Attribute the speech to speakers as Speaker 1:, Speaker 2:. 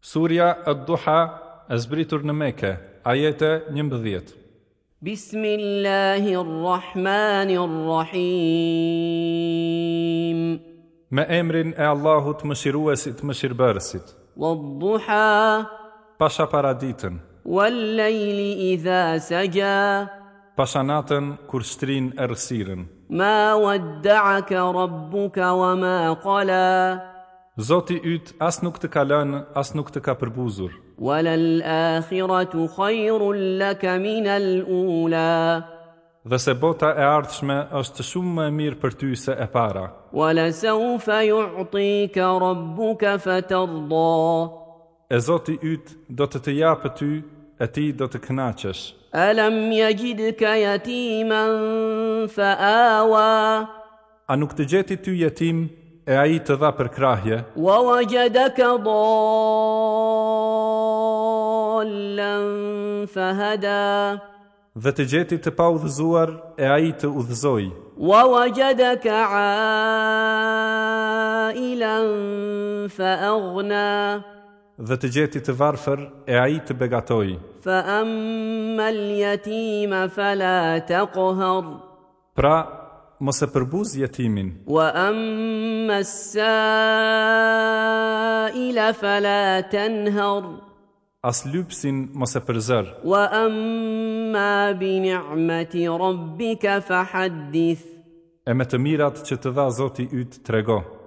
Speaker 1: Surja Ad-Duha e zbritur në Mekë, ajete 11.
Speaker 2: بسم الله الرحمن الرحيم
Speaker 1: Me emrin e Allahut mëshiruesit mëshirbërësit,
Speaker 2: والضحى
Speaker 1: pasha paraditën,
Speaker 2: والليل إذا سجى
Speaker 1: pasha natën kur shtrin e rësirin.
Speaker 2: ما ودعك ربك وما قلى
Speaker 1: Zoti yt as nuk të ka lënë, as nuk të ka përbuzur.
Speaker 2: وللآخرة خير لك من الأولى
Speaker 1: Dhe se bota e ardhshme është shumë më e mirë për ty se e para.
Speaker 2: ولسوف يعطيك ربك فترضى
Speaker 1: E Zoti yt do të të japë ty, e ti do të kënaqesh.
Speaker 2: ألم يجدك يتيما فآوى
Speaker 1: A nuk të gjeti ty jetim, e ai të dha për krahje,
Speaker 2: ووجدك ضالا فهدى
Speaker 1: dhe të gjeti të pa udhëzuar, e ai të udhëzoi,
Speaker 2: ووجدك عائلا فأغنى
Speaker 1: dhe të gjeti të varfër, e ai të begatoi.
Speaker 2: فأما اليتيم فلا تقهر
Speaker 1: Pra, mos e përbuz jetimin,
Speaker 2: وأما السائل فلا تنهر
Speaker 1: as lypsin mos e përzër,
Speaker 2: وأما بنعمة ربك فحدث
Speaker 1: e me të mirat që të dha Zoti yt trego.